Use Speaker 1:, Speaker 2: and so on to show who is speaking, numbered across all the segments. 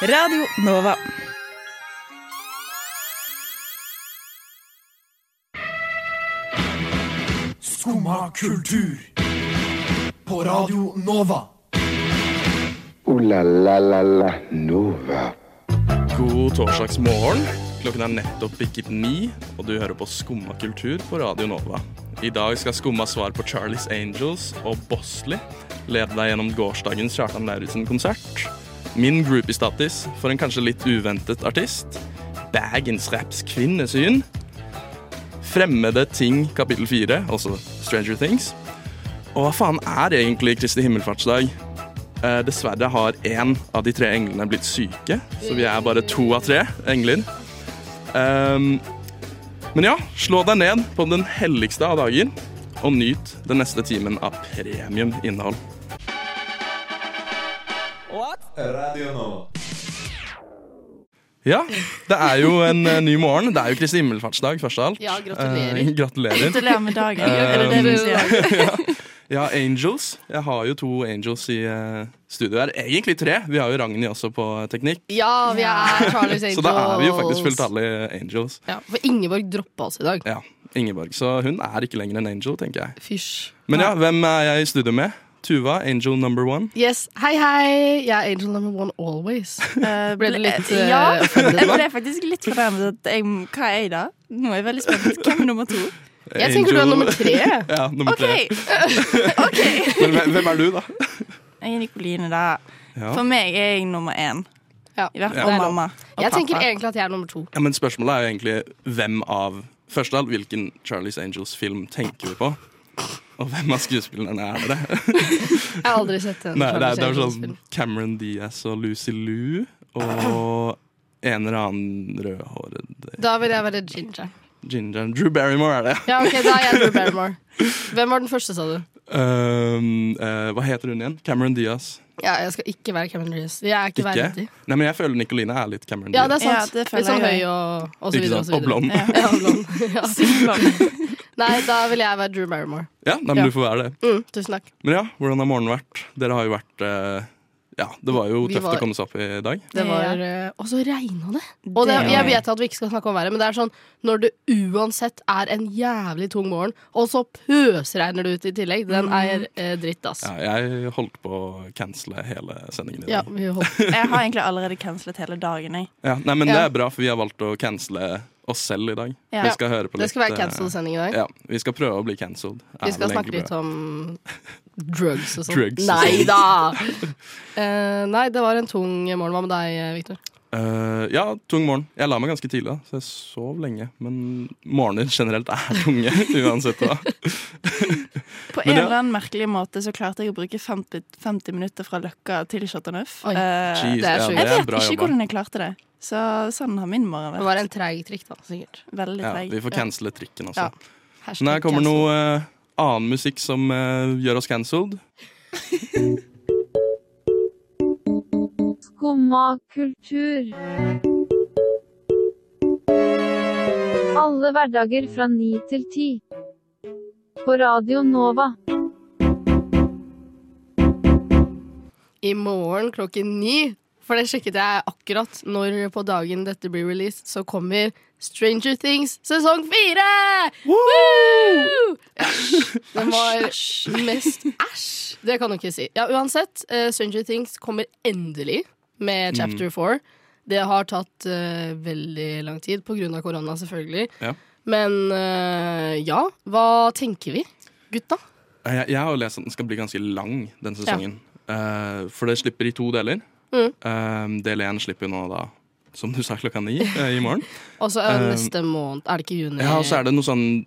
Speaker 1: Radio Nova.
Speaker 2: Skumma kultur. På Radio Nova.
Speaker 3: Ooh la la la la Nova.
Speaker 4: God torsdagsmorgen. Klokken er nettopp bikket ni, og du hører på Skumma kultur på Radio Nova. I dag skal Skumma svar på Charlies Angels og Bosley lede deg gjennom gårsdagens Kjartan Lauritzen-konsert. Min groupie-status for en kanskje litt uventet artist. Bagens raps kvinnesyn. Fremmede ting kapittel fire, altså Stranger Things. Og hva faen er egentlig Kristi himmelfartsdag? Eh, dessverre har én av de tre englene blitt syke, så vi er bare to av tre engler. Ehm, men ja, slå deg ned på den helligste av dager, og nyt den neste timen av premium innhold. Ja, det er jo en eh, ny morgen. Det er jo Kristi himmelfartsdag, først av alt.
Speaker 5: Ja, gratulerer.
Speaker 4: Eh, gratulerer.
Speaker 6: Gratulerer med dagen. Er det det du sier?
Speaker 4: Ja, Angels. Jeg har jo to Angels i eh, studio her. Egentlig tre. Vi har jo Ragnhild også på teknikk.
Speaker 5: Ja, vi er Charlies Angels.
Speaker 4: Så da er vi jo faktisk fulltallige Angels.
Speaker 5: Ja, for Ingeborg droppa oss i dag.
Speaker 4: Ja, Ingeborg. Så hun er ikke lenger en angel, tenker jeg.
Speaker 5: Fysj.
Speaker 4: Men ja, hvem er jeg i studio med? Tuva, angel number one.
Speaker 5: Yes, Hei, hei! Jeg er angel number one always.
Speaker 6: Eh,
Speaker 5: Ble det litt, eh,
Speaker 6: Ja,
Speaker 5: offended
Speaker 6: jeg ble faktisk litt fornærmet. at jeg- Hva er jeg da? Nå er jeg veldig spent. Hvem er nummer to?
Speaker 5: Jeg tenker du er nummer tre.
Speaker 4: Ja, nummer
Speaker 6: OK! ok.
Speaker 4: tre. Men hvem er du, da?
Speaker 6: Jeg er Nikoline, da.
Speaker 4: Ja.
Speaker 6: For meg er jeg nummer én.
Speaker 5: Ja,
Speaker 6: I hvert
Speaker 5: det
Speaker 6: fall
Speaker 5: er
Speaker 6: og
Speaker 5: lov.
Speaker 6: mamma. Og
Speaker 5: Jeg tenker
Speaker 6: pappa.
Speaker 5: egentlig at jeg er nummer to.
Speaker 4: Ja, Men spørsmålet er jo egentlig hvem av Først av alt, hvilken Charlies Angels-film tenker vi på? Og hvem av skuespillerne er dere?
Speaker 5: Jeg har aldri sett en
Speaker 4: Nei, det er,
Speaker 5: Charlies
Speaker 4: det er
Speaker 5: Angels
Speaker 4: sånn
Speaker 5: film.
Speaker 4: Cameron Diaz og Lucy Liu og en eller annen rødhåret
Speaker 5: Da vil jeg være ginger.
Speaker 4: ginger Drew Barrymore er det.
Speaker 5: Ja, ok, da er jeg Drew Barrymore. Hvem var den første, sa du?
Speaker 4: Um, eh, hva heter hun igjen? Cameron Diaz.
Speaker 5: Ja, jeg skal ikke være Cameron Diaz. Jeg er ikke
Speaker 4: Ikke?
Speaker 5: verdig.
Speaker 4: Nei, men jeg føler Nicoline er litt Cameron
Speaker 5: Ja, det
Speaker 4: Diaz.
Speaker 5: er sant.
Speaker 6: Ja, det føler
Speaker 5: Litt sånn
Speaker 6: jeg.
Speaker 5: høy og, og så
Speaker 4: Ikke
Speaker 5: videre. Og
Speaker 4: sant?
Speaker 5: så
Speaker 4: Og
Speaker 5: videre.
Speaker 4: blond. Ja.
Speaker 5: Ja, og blond. Ja.
Speaker 6: Sykt blond.
Speaker 5: Nei, da vil jeg være Drew Barrymore.
Speaker 4: nei, men
Speaker 5: Ja.
Speaker 4: du får være det.
Speaker 5: Mm, tusen takk.
Speaker 4: Men ja, hvordan har morgenen vært? Dere har jo vært eh, Ja, det var jo
Speaker 5: Vi
Speaker 4: tøft
Speaker 5: var-
Speaker 4: å komme seg opp i dag.
Speaker 5: Det var, eh, og så regna det. Og det, jeg vet at vi ikke skal snakke om været, men det er sånn når det uansett er en jævlig tung morgen, og så pøsregner det ut i tillegg. Den er eh, dritt, ass.
Speaker 4: Ja, jeg holdt på å cancele hele sendingen i
Speaker 5: Ja,
Speaker 4: dag.
Speaker 5: vi holdt.
Speaker 6: Jeg har egentlig allerede cancelet hele dagen, jeg.
Speaker 4: Ja, nei, men det
Speaker 5: Ja.
Speaker 4: er bra, for vi har valgt å cancele oss selv i dag.
Speaker 6: Ja.
Speaker 4: Vi skal høre på litt
Speaker 5: Det skal være
Speaker 4: eh,
Speaker 5: cancel-sending i dag.
Speaker 4: Ja, vi skal prøve å bli cancelled.
Speaker 5: Vi skal snakke litt om drugs og sånn.
Speaker 4: Drugs og
Speaker 5: nei
Speaker 4: sånn.
Speaker 5: da! Eh, nei, det var en tung morgen. Hva med deg, Viktor?
Speaker 4: Eh, ja, tung morgen. Jeg la meg ganske tidlig, da, så jeg sov lenge. Men morgener generelt er tunge, uansett hva.
Speaker 6: På
Speaker 4: Men
Speaker 6: en
Speaker 4: det-
Speaker 6: eller annen merkelig måte så klarte jeg å bruke 50, 50 minutter fra Løkka til Chateauneuf.
Speaker 5: Oi.
Speaker 6: Eh,
Speaker 4: Jeez,
Speaker 5: det er
Speaker 4: ja,
Speaker 5: sjukt.
Speaker 6: jeg
Speaker 4: det er
Speaker 6: vet
Speaker 4: bra
Speaker 6: ikke
Speaker 4: jobba.
Speaker 6: hvordan jeg klarte det. Så sånn har min morgen
Speaker 5: Det
Speaker 6: vært.
Speaker 5: var en treig trikk, da. Sikkert.
Speaker 6: Veldig
Speaker 4: Ja,
Speaker 6: treig.
Speaker 4: vi får cancele trikken også.
Speaker 6: Ja.
Speaker 5: Hashtag
Speaker 4: Men her kommer
Speaker 5: cancel.
Speaker 4: noe eh, annen musikk som eh, gjør oss cancelled.
Speaker 7: Skumma kultur. Alle hverdager fra 9 til 10. På Radio Nova.
Speaker 5: i morgen klokken ni. For det sjekket jeg akkurat når på dagen dette blir released, så kommer Stranger Things sesong fire! Woo! Æsj. Den var mest æsj. Det kan du ikke si. Ja, uansett, eh, Stranger Things kommer endelig
Speaker 4: Mm.
Speaker 5: med chapter four. Det har tatt eh, veldig lang tid, på grunn av korona, selvfølgelig.
Speaker 4: Ja.
Speaker 5: Men eh, ja, hva tenker vi, gutta?
Speaker 4: Eh, Jeg, jeg har jo lest at den skal bli ganske lang den sesongen. Eh, for det slipper i to deler.
Speaker 5: Mm.
Speaker 4: Eh, del én slipper jo nå da, som du sa, klokka ni eh, i morgen.
Speaker 5: Altså
Speaker 4: Eh,
Speaker 5: neste måned, er det ikke juni?
Speaker 4: Ja, og så er det noe sånn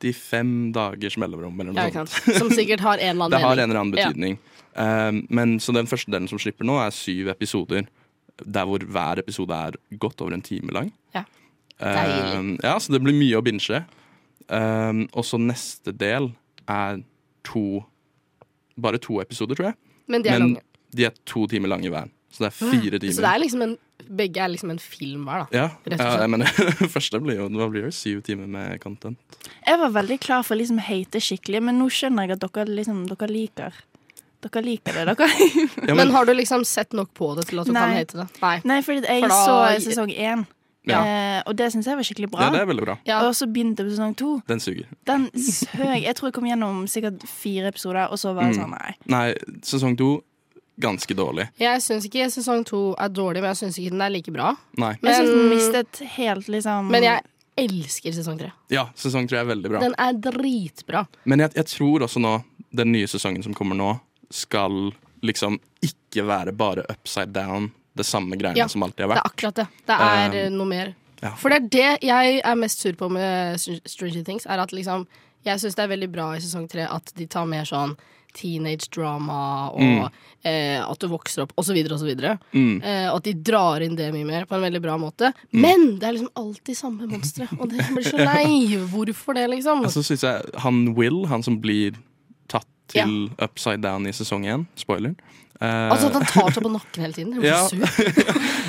Speaker 4: 35 dagers mellomrom. Eller
Speaker 5: Ja,
Speaker 4: noe
Speaker 5: ikke
Speaker 4: sånt.
Speaker 5: sant. Som sikkert har en eller annen
Speaker 4: Det har en
Speaker 5: mening.
Speaker 4: eller annen
Speaker 5: Ja.
Speaker 4: betydning. Um, men Så den første delen som slipper nå, er syv episoder. Der hvor hver episode er godt over en time lang.
Speaker 5: Ja. Deilig.
Speaker 4: Um, ja, så det blir mye å binche. Um, og så neste del er to Bare to episoder, tror jeg.
Speaker 5: Men de er
Speaker 4: men
Speaker 5: lange.
Speaker 4: de er to timer lange hver. Så det er fire timer.
Speaker 5: Så det er liksom en, begge er liksom en film hver, da.
Speaker 4: ja,
Speaker 5: rett og
Speaker 4: ja,
Speaker 5: slett.
Speaker 4: jeg mener, første blir jo Hva blir det? Syv timer med content.
Speaker 6: Jeg var veldig klar for å liksom hate skikkelig, men nå skjønner jeg at dere, liksom, dere liker Dere liker det, dere.
Speaker 4: Ja,
Speaker 5: Men
Speaker 4: men,
Speaker 5: har du liksom sett nok på det til at du kan
Speaker 6: Nei.
Speaker 5: hate det? Nei.
Speaker 6: Nei, fordi jeg
Speaker 5: For da-
Speaker 6: så sesong én,
Speaker 4: Ja.
Speaker 6: eh, og det syns jeg var skikkelig bra.
Speaker 4: ja, det er veldig bra.
Speaker 5: Ja.
Speaker 6: Og så begynte jeg på sesong to.
Speaker 4: Den suger.
Speaker 6: Den søg. Jeg tror jeg kom gjennom sikkert fire episoder, og så var det
Speaker 4: Mm.
Speaker 6: sånn, nei.
Speaker 4: Nei, sesong to ganske dårlig.
Speaker 5: Jeg syns ikke sesong to er dårlig, men jeg syns ikke den er like bra.
Speaker 4: Nei.
Speaker 6: Jeg synes den
Speaker 5: Men-
Speaker 6: mistet helt, liksom
Speaker 5: Men jeg elsker sesong tre.
Speaker 4: Ja, sesong tre er veldig bra.
Speaker 5: Den er dritbra.
Speaker 4: Men jeg, jeg tror også nå den nye sesongen som kommer nå, skal liksom ikke være bare upside down, det samme greiene
Speaker 5: Ja,
Speaker 4: som alltid har
Speaker 5: Det er
Speaker 4: vært.
Speaker 5: akkurat det. Det er
Speaker 4: Um,
Speaker 5: eh, noe mer.
Speaker 4: ja.
Speaker 5: For det er det jeg er mest sur på med Str- Stranger Things, er at liksom Jeg syns det er veldig bra i sesong tre at de tar mer sånn teenage drama og
Speaker 4: Mm.
Speaker 5: eh, at du vokser opp, osv., osv. Mm. Eh, og at de drar inn det mye mer på en veldig bra måte.
Speaker 4: Mm.
Speaker 5: Men det er liksom alltid samme monstre, og det jeg blir så lei. Hvorfor det, liksom?
Speaker 4: Og Altså, så syns jeg han Will, han som blir tatt til upside down i sesong én, spoileren eh,
Speaker 5: Altså at han tar seg på nakken hele tiden. Jeg blir
Speaker 4: Ja.
Speaker 5: så sur.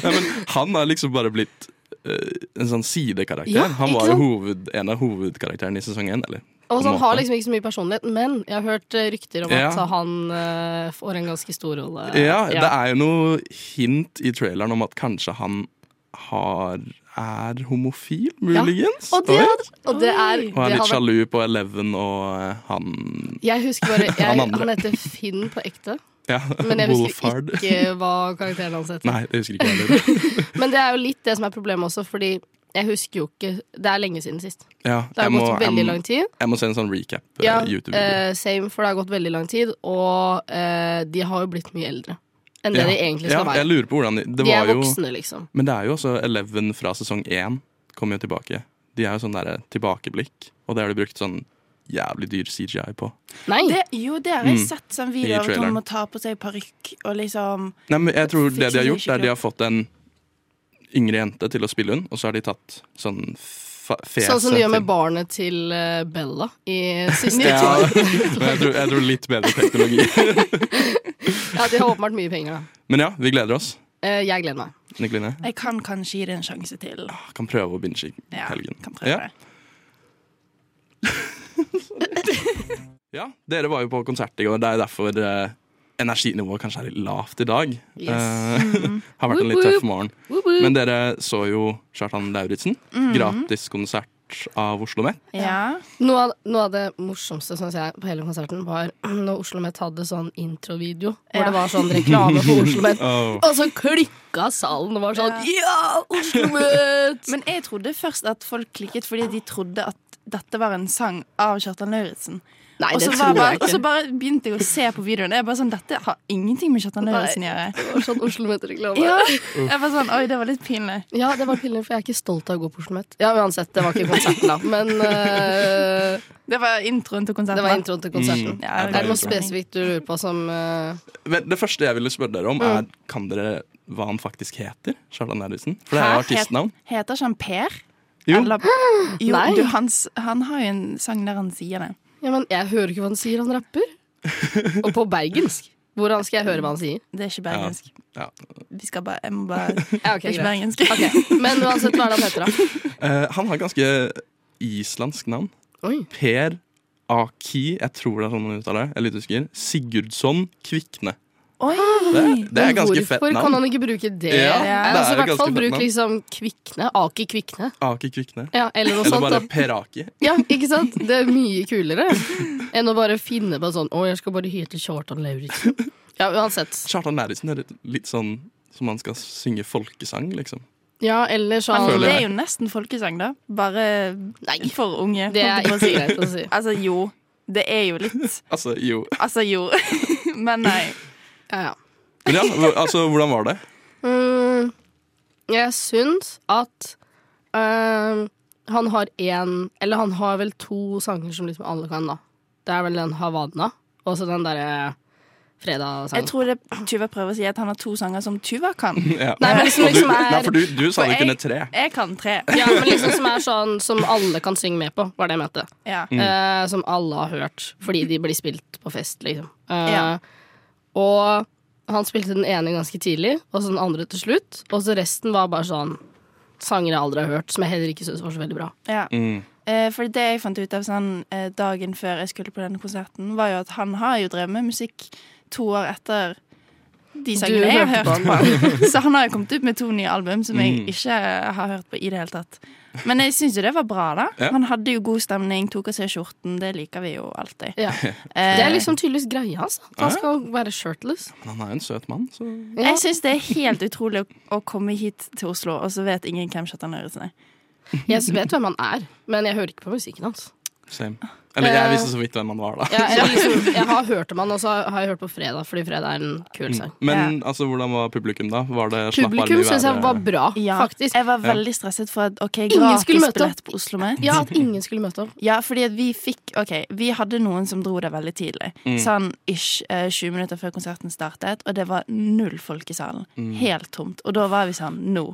Speaker 4: nei, men Han har liksom bare blitt eh, en sånn sidekarakter.
Speaker 5: Ja,
Speaker 4: han
Speaker 5: ikke
Speaker 4: var jo
Speaker 5: sant?
Speaker 4: hoved, en av hovedkarakterene i sesong én. Eller på
Speaker 5: Og
Speaker 4: en
Speaker 5: så han har
Speaker 4: måte.
Speaker 5: liksom ikke så mye personlighet, men jeg har hørt eh, rykter om
Speaker 4: Ja.
Speaker 5: at han eh, får en ganske stor rolle.
Speaker 4: Ja, det er jo noe hint i traileren om at kanskje han har er homofil, muligens.
Speaker 5: Og
Speaker 4: Oi.
Speaker 5: det, hadde, og det er
Speaker 6: Oi.
Speaker 5: det
Speaker 4: og er litt
Speaker 5: hadde-
Speaker 4: sjalu på Eleven og eh, han
Speaker 5: Jeg husker bare jeg,
Speaker 4: Han
Speaker 5: han,
Speaker 4: andre.
Speaker 5: heter Finn på ekte,
Speaker 4: ja,
Speaker 5: men jeg husker
Speaker 4: Wolfhard.
Speaker 5: ikke hva karakteren hans heter.
Speaker 4: Nei, det husker ikke jeg heller.
Speaker 5: Men det er jo litt det som er problemet også, fordi jeg husker jo ikke Det er lenge siden sist.
Speaker 4: Ja,
Speaker 5: Det har
Speaker 4: jeg, må,
Speaker 5: gått veldig
Speaker 4: jeg,
Speaker 5: lang tid.
Speaker 4: jeg må se en sånn recap. eh,
Speaker 5: Ja,
Speaker 4: YouTube-video.
Speaker 5: eh, same, for det har gått veldig lang tid, og eh, de har jo blitt mye eldre enn det
Speaker 4: Ja.
Speaker 5: de egentlig skal
Speaker 4: ja, Jeg
Speaker 5: være.
Speaker 4: lurer på hvordan de, det
Speaker 5: De er
Speaker 4: var jo,
Speaker 5: voksne, liksom.
Speaker 4: Men det er jo også Eleven fra sesong én kommer jo tilbake. De er jo sånn derre tilbakeblikk, og det har de brukt sånn jævlig dyr CGI på.
Speaker 5: Nei!
Speaker 6: det, Jo, det har jeg
Speaker 4: Mm.
Speaker 6: sett sånn
Speaker 4: I
Speaker 6: video av at
Speaker 4: traileren.
Speaker 6: hun må ta på seg parykk og liksom
Speaker 4: Nei, men jeg tror
Speaker 6: Fikk
Speaker 4: det de har
Speaker 6: de
Speaker 4: gjort, er de har fått en yngre jente til å spille hun, og så har de tatt sånn fa- fjeset
Speaker 5: Sånn som de gjør med
Speaker 4: til-
Speaker 5: barnet til eh, Bella i siste
Speaker 4: Ja,
Speaker 5: ja.
Speaker 4: men jeg tror, jeg tror litt bedre teknologi.
Speaker 5: ja, de har åpenbart mye penger, da.
Speaker 4: Men ja, vi gleder oss.
Speaker 5: Eh, jeg gleder meg.
Speaker 4: Nick Line
Speaker 6: Jeg kan kanskje gi det en sjanse til.
Speaker 4: kan prøve å binge i
Speaker 6: Ja,
Speaker 4: helgen.
Speaker 6: kan prøve
Speaker 4: Ja.
Speaker 6: det.
Speaker 4: ja, Dere var jo på konsert i går. Det er derfor eh, energinivået kanskje er litt lavt i dag.
Speaker 5: Yes.
Speaker 4: Eh, har vært en litt
Speaker 5: Woop
Speaker 4: tøff morgen.
Speaker 5: Woop woop.
Speaker 4: Men dere så jo Kjartan Lauritzen.
Speaker 6: Mhm.
Speaker 4: Gratiskonsert av Oslo Met.
Speaker 6: Ja.
Speaker 5: Noe av, noe av det morsomste synes jeg, på hele konserten var når Oslo Met hadde sånn introvideo. Hvor
Speaker 6: Ja.
Speaker 5: det var sånn reklame for Oslo Met.
Speaker 4: Oh.
Speaker 5: Og så klikka salen og var sånn Ja, Oslo Met!
Speaker 6: Men jeg trodde først at folk klikket fordi de trodde at dette var en sang av Kjartan Lauritzen.
Speaker 5: Nei,
Speaker 6: Og
Speaker 5: det
Speaker 6: så
Speaker 5: tror
Speaker 6: bare,
Speaker 5: jeg
Speaker 6: og så
Speaker 5: ikke.
Speaker 6: bare begynte jeg å se på videoen. Jeg bare sånn, Dette har ingenting med Kjartan Lauritzen å gjøre.
Speaker 5: Det var sånn Oslo Met-reklame.
Speaker 6: Ja.
Speaker 5: Ja.
Speaker 6: Jeg var sånn, Oi, det var litt pinlig.
Speaker 5: det var piller, for jeg er ikke stolt av å gå på Oslo Met. Ja, uansett, det var ikke konserten, da. Men eh,
Speaker 6: Det var introen til konserten. Mm.
Speaker 5: det var introen til konserten.
Speaker 6: Ja,
Speaker 4: Ja, det
Speaker 5: Er Mm. det
Speaker 4: var
Speaker 5: noe spesifikt du lurer på som eh,
Speaker 4: Men det første jeg ville spørre dere om,
Speaker 6: Mm.
Speaker 4: er kan dere hva han faktisk heter? Kjartan Lauritzen? For det er
Speaker 6: Hæ?
Speaker 4: jo artistnavn.
Speaker 6: Het- Heter ikke han Per?
Speaker 4: Jo.
Speaker 6: Eller, jo
Speaker 5: Nei.
Speaker 6: du, han, s- han har jo en sang der han sier det.
Speaker 5: Ja, men jeg hører ikke hva han sier, han rapper. Og på bergensk. Hvordan skal jeg høre hva han sier?
Speaker 6: Det er ikke bergensk.
Speaker 4: Ja.
Speaker 6: Vi skal bare, jeg må bare Det
Speaker 5: Ja,
Speaker 6: er
Speaker 5: ok,
Speaker 6: ikke
Speaker 5: greit.
Speaker 6: bergensk.
Speaker 5: Ok, Men uansett hva er det han heter, da?
Speaker 4: Eh, han har ganske islandsk navn.
Speaker 5: Oi.
Speaker 4: Per Aki, jeg tror det er sånn han uttaler det. Jeg er litt usikker. Sigurdsson Kvikne.
Speaker 6: Oi!
Speaker 4: Det, det er ganske fett
Speaker 5: Hvorfor kan
Speaker 4: navn.
Speaker 5: han ikke bruke det?
Speaker 4: Ja, det er
Speaker 5: altså,
Speaker 4: ganske
Speaker 5: I hvert fall
Speaker 4: fett
Speaker 5: bruk
Speaker 4: navn.
Speaker 5: liksom Kvikne. Aki Kvikne.
Speaker 4: Aki Kvikne.
Speaker 5: Ja, eller noe
Speaker 4: Eller
Speaker 5: sånt.
Speaker 4: bare
Speaker 5: Da.
Speaker 4: Per Aki.
Speaker 5: Ja, ikke sant? Det er mye kulere enn å bare finne på sånn Å, jeg skal bare hete Kjartan Lauritzen. Ja, uansett.
Speaker 4: Kjartan Lauritzen er litt, litt sånn som han skal synge folkesang, liksom.
Speaker 5: Ja, eller sånn
Speaker 6: Men
Speaker 4: Føler
Speaker 6: det
Speaker 4: jeg.
Speaker 6: er jo nesten folkesang, da. Bare
Speaker 5: Nei,
Speaker 6: for unge.
Speaker 5: det er
Speaker 6: holdt
Speaker 5: ikke
Speaker 6: jeg på å si.
Speaker 5: greit å si.
Speaker 6: Altså jo. Det er jo litt
Speaker 4: Altså, jo.
Speaker 6: Altså jo. Men nei.
Speaker 5: Ja, ja.
Speaker 4: Men ja, hv- altså, hvordan var det?
Speaker 5: Mm, jeg syns at øhm, han har én Eller han har vel to sanger som liksom alle kan, da. Det er vel den Havana og så den derre
Speaker 6: Jeg
Speaker 5: fredagssangen.
Speaker 6: tror det Tuva prøver å si at han har to sanger som Tuva kan.
Speaker 4: Ja.
Speaker 5: Nei, men som
Speaker 4: Og du,
Speaker 5: liksom er
Speaker 4: nei, for du, du sa
Speaker 6: For
Speaker 4: du
Speaker 6: jeg-
Speaker 4: kunne tre.
Speaker 6: Jeg kan tre.
Speaker 5: Ja, men liksom som er sånn som alle kan synge med på, var det jeg mente.
Speaker 6: Ja.
Speaker 5: Eh, som alle har hørt, fordi de blir spilt på fest, liksom. Eh,
Speaker 6: Ja.
Speaker 5: Og han spilte den ene ganske tidlig, og så den andre til slutt. Og så resten var bare sånn sanger jeg aldri har hørt, som jeg heller ikke syns var så veldig bra.
Speaker 6: ja.
Speaker 4: Mm.
Speaker 6: Eh, For det jeg fant ut av sånn eh, dagen før jeg skulle på denne konserten, var jo at han har jo drevet med musikk to år etter de
Speaker 5: Du
Speaker 6: sangene jeg har
Speaker 5: hørte
Speaker 6: hørt på. Så han har jo kommet ut med to nye album som jeg
Speaker 4: Mm.
Speaker 6: ikke har hørt på i det hele tatt. Men jeg syns jo det var bra, da.
Speaker 4: Ja.
Speaker 6: Han hadde jo god stemning, tok av seg skjorten. Det liker vi jo alltid.
Speaker 5: Ja.
Speaker 6: Eh,
Speaker 5: Det er liksom tydeligvis greia hans. At
Speaker 4: Ja.
Speaker 5: han skal være shirtless.
Speaker 4: Men han er jo en søt mann, så
Speaker 5: Ja.
Speaker 6: Jeg syns det er helt utrolig å, å komme hit til Oslo, og så vet ingen hvem Kjartan Lauritzen er.
Speaker 5: Jeg vet hvem han er, men jeg hører ikke på musikken hans.
Speaker 4: same. Eller jeg
Speaker 5: Eh,
Speaker 4: visste så vidt hvem han var, da.
Speaker 5: Jeg, jeg, liksom, jeg har hørt om han, og så har jeg hørt på Fredag, fordi Fredag er en kul sang.
Speaker 4: Men altså, hvordan var publikum, da? Var det slapp arm i
Speaker 5: Publikum syns jeg
Speaker 4: været?
Speaker 5: var bra, faktisk.
Speaker 6: Jeg var veldig stresset for at OK,
Speaker 5: Ingen skulle møte
Speaker 6: gratisbillett på Oslo Met.
Speaker 5: Ja, at ingen skulle møte opp.
Speaker 6: Ja, fordi at vi fikk OK, vi hadde noen som dro der veldig tidlig. Sånn ish eh, 20 minutter før konserten startet, og det var null folk i salen. Helt tomt. Og da var vi sånn Nå.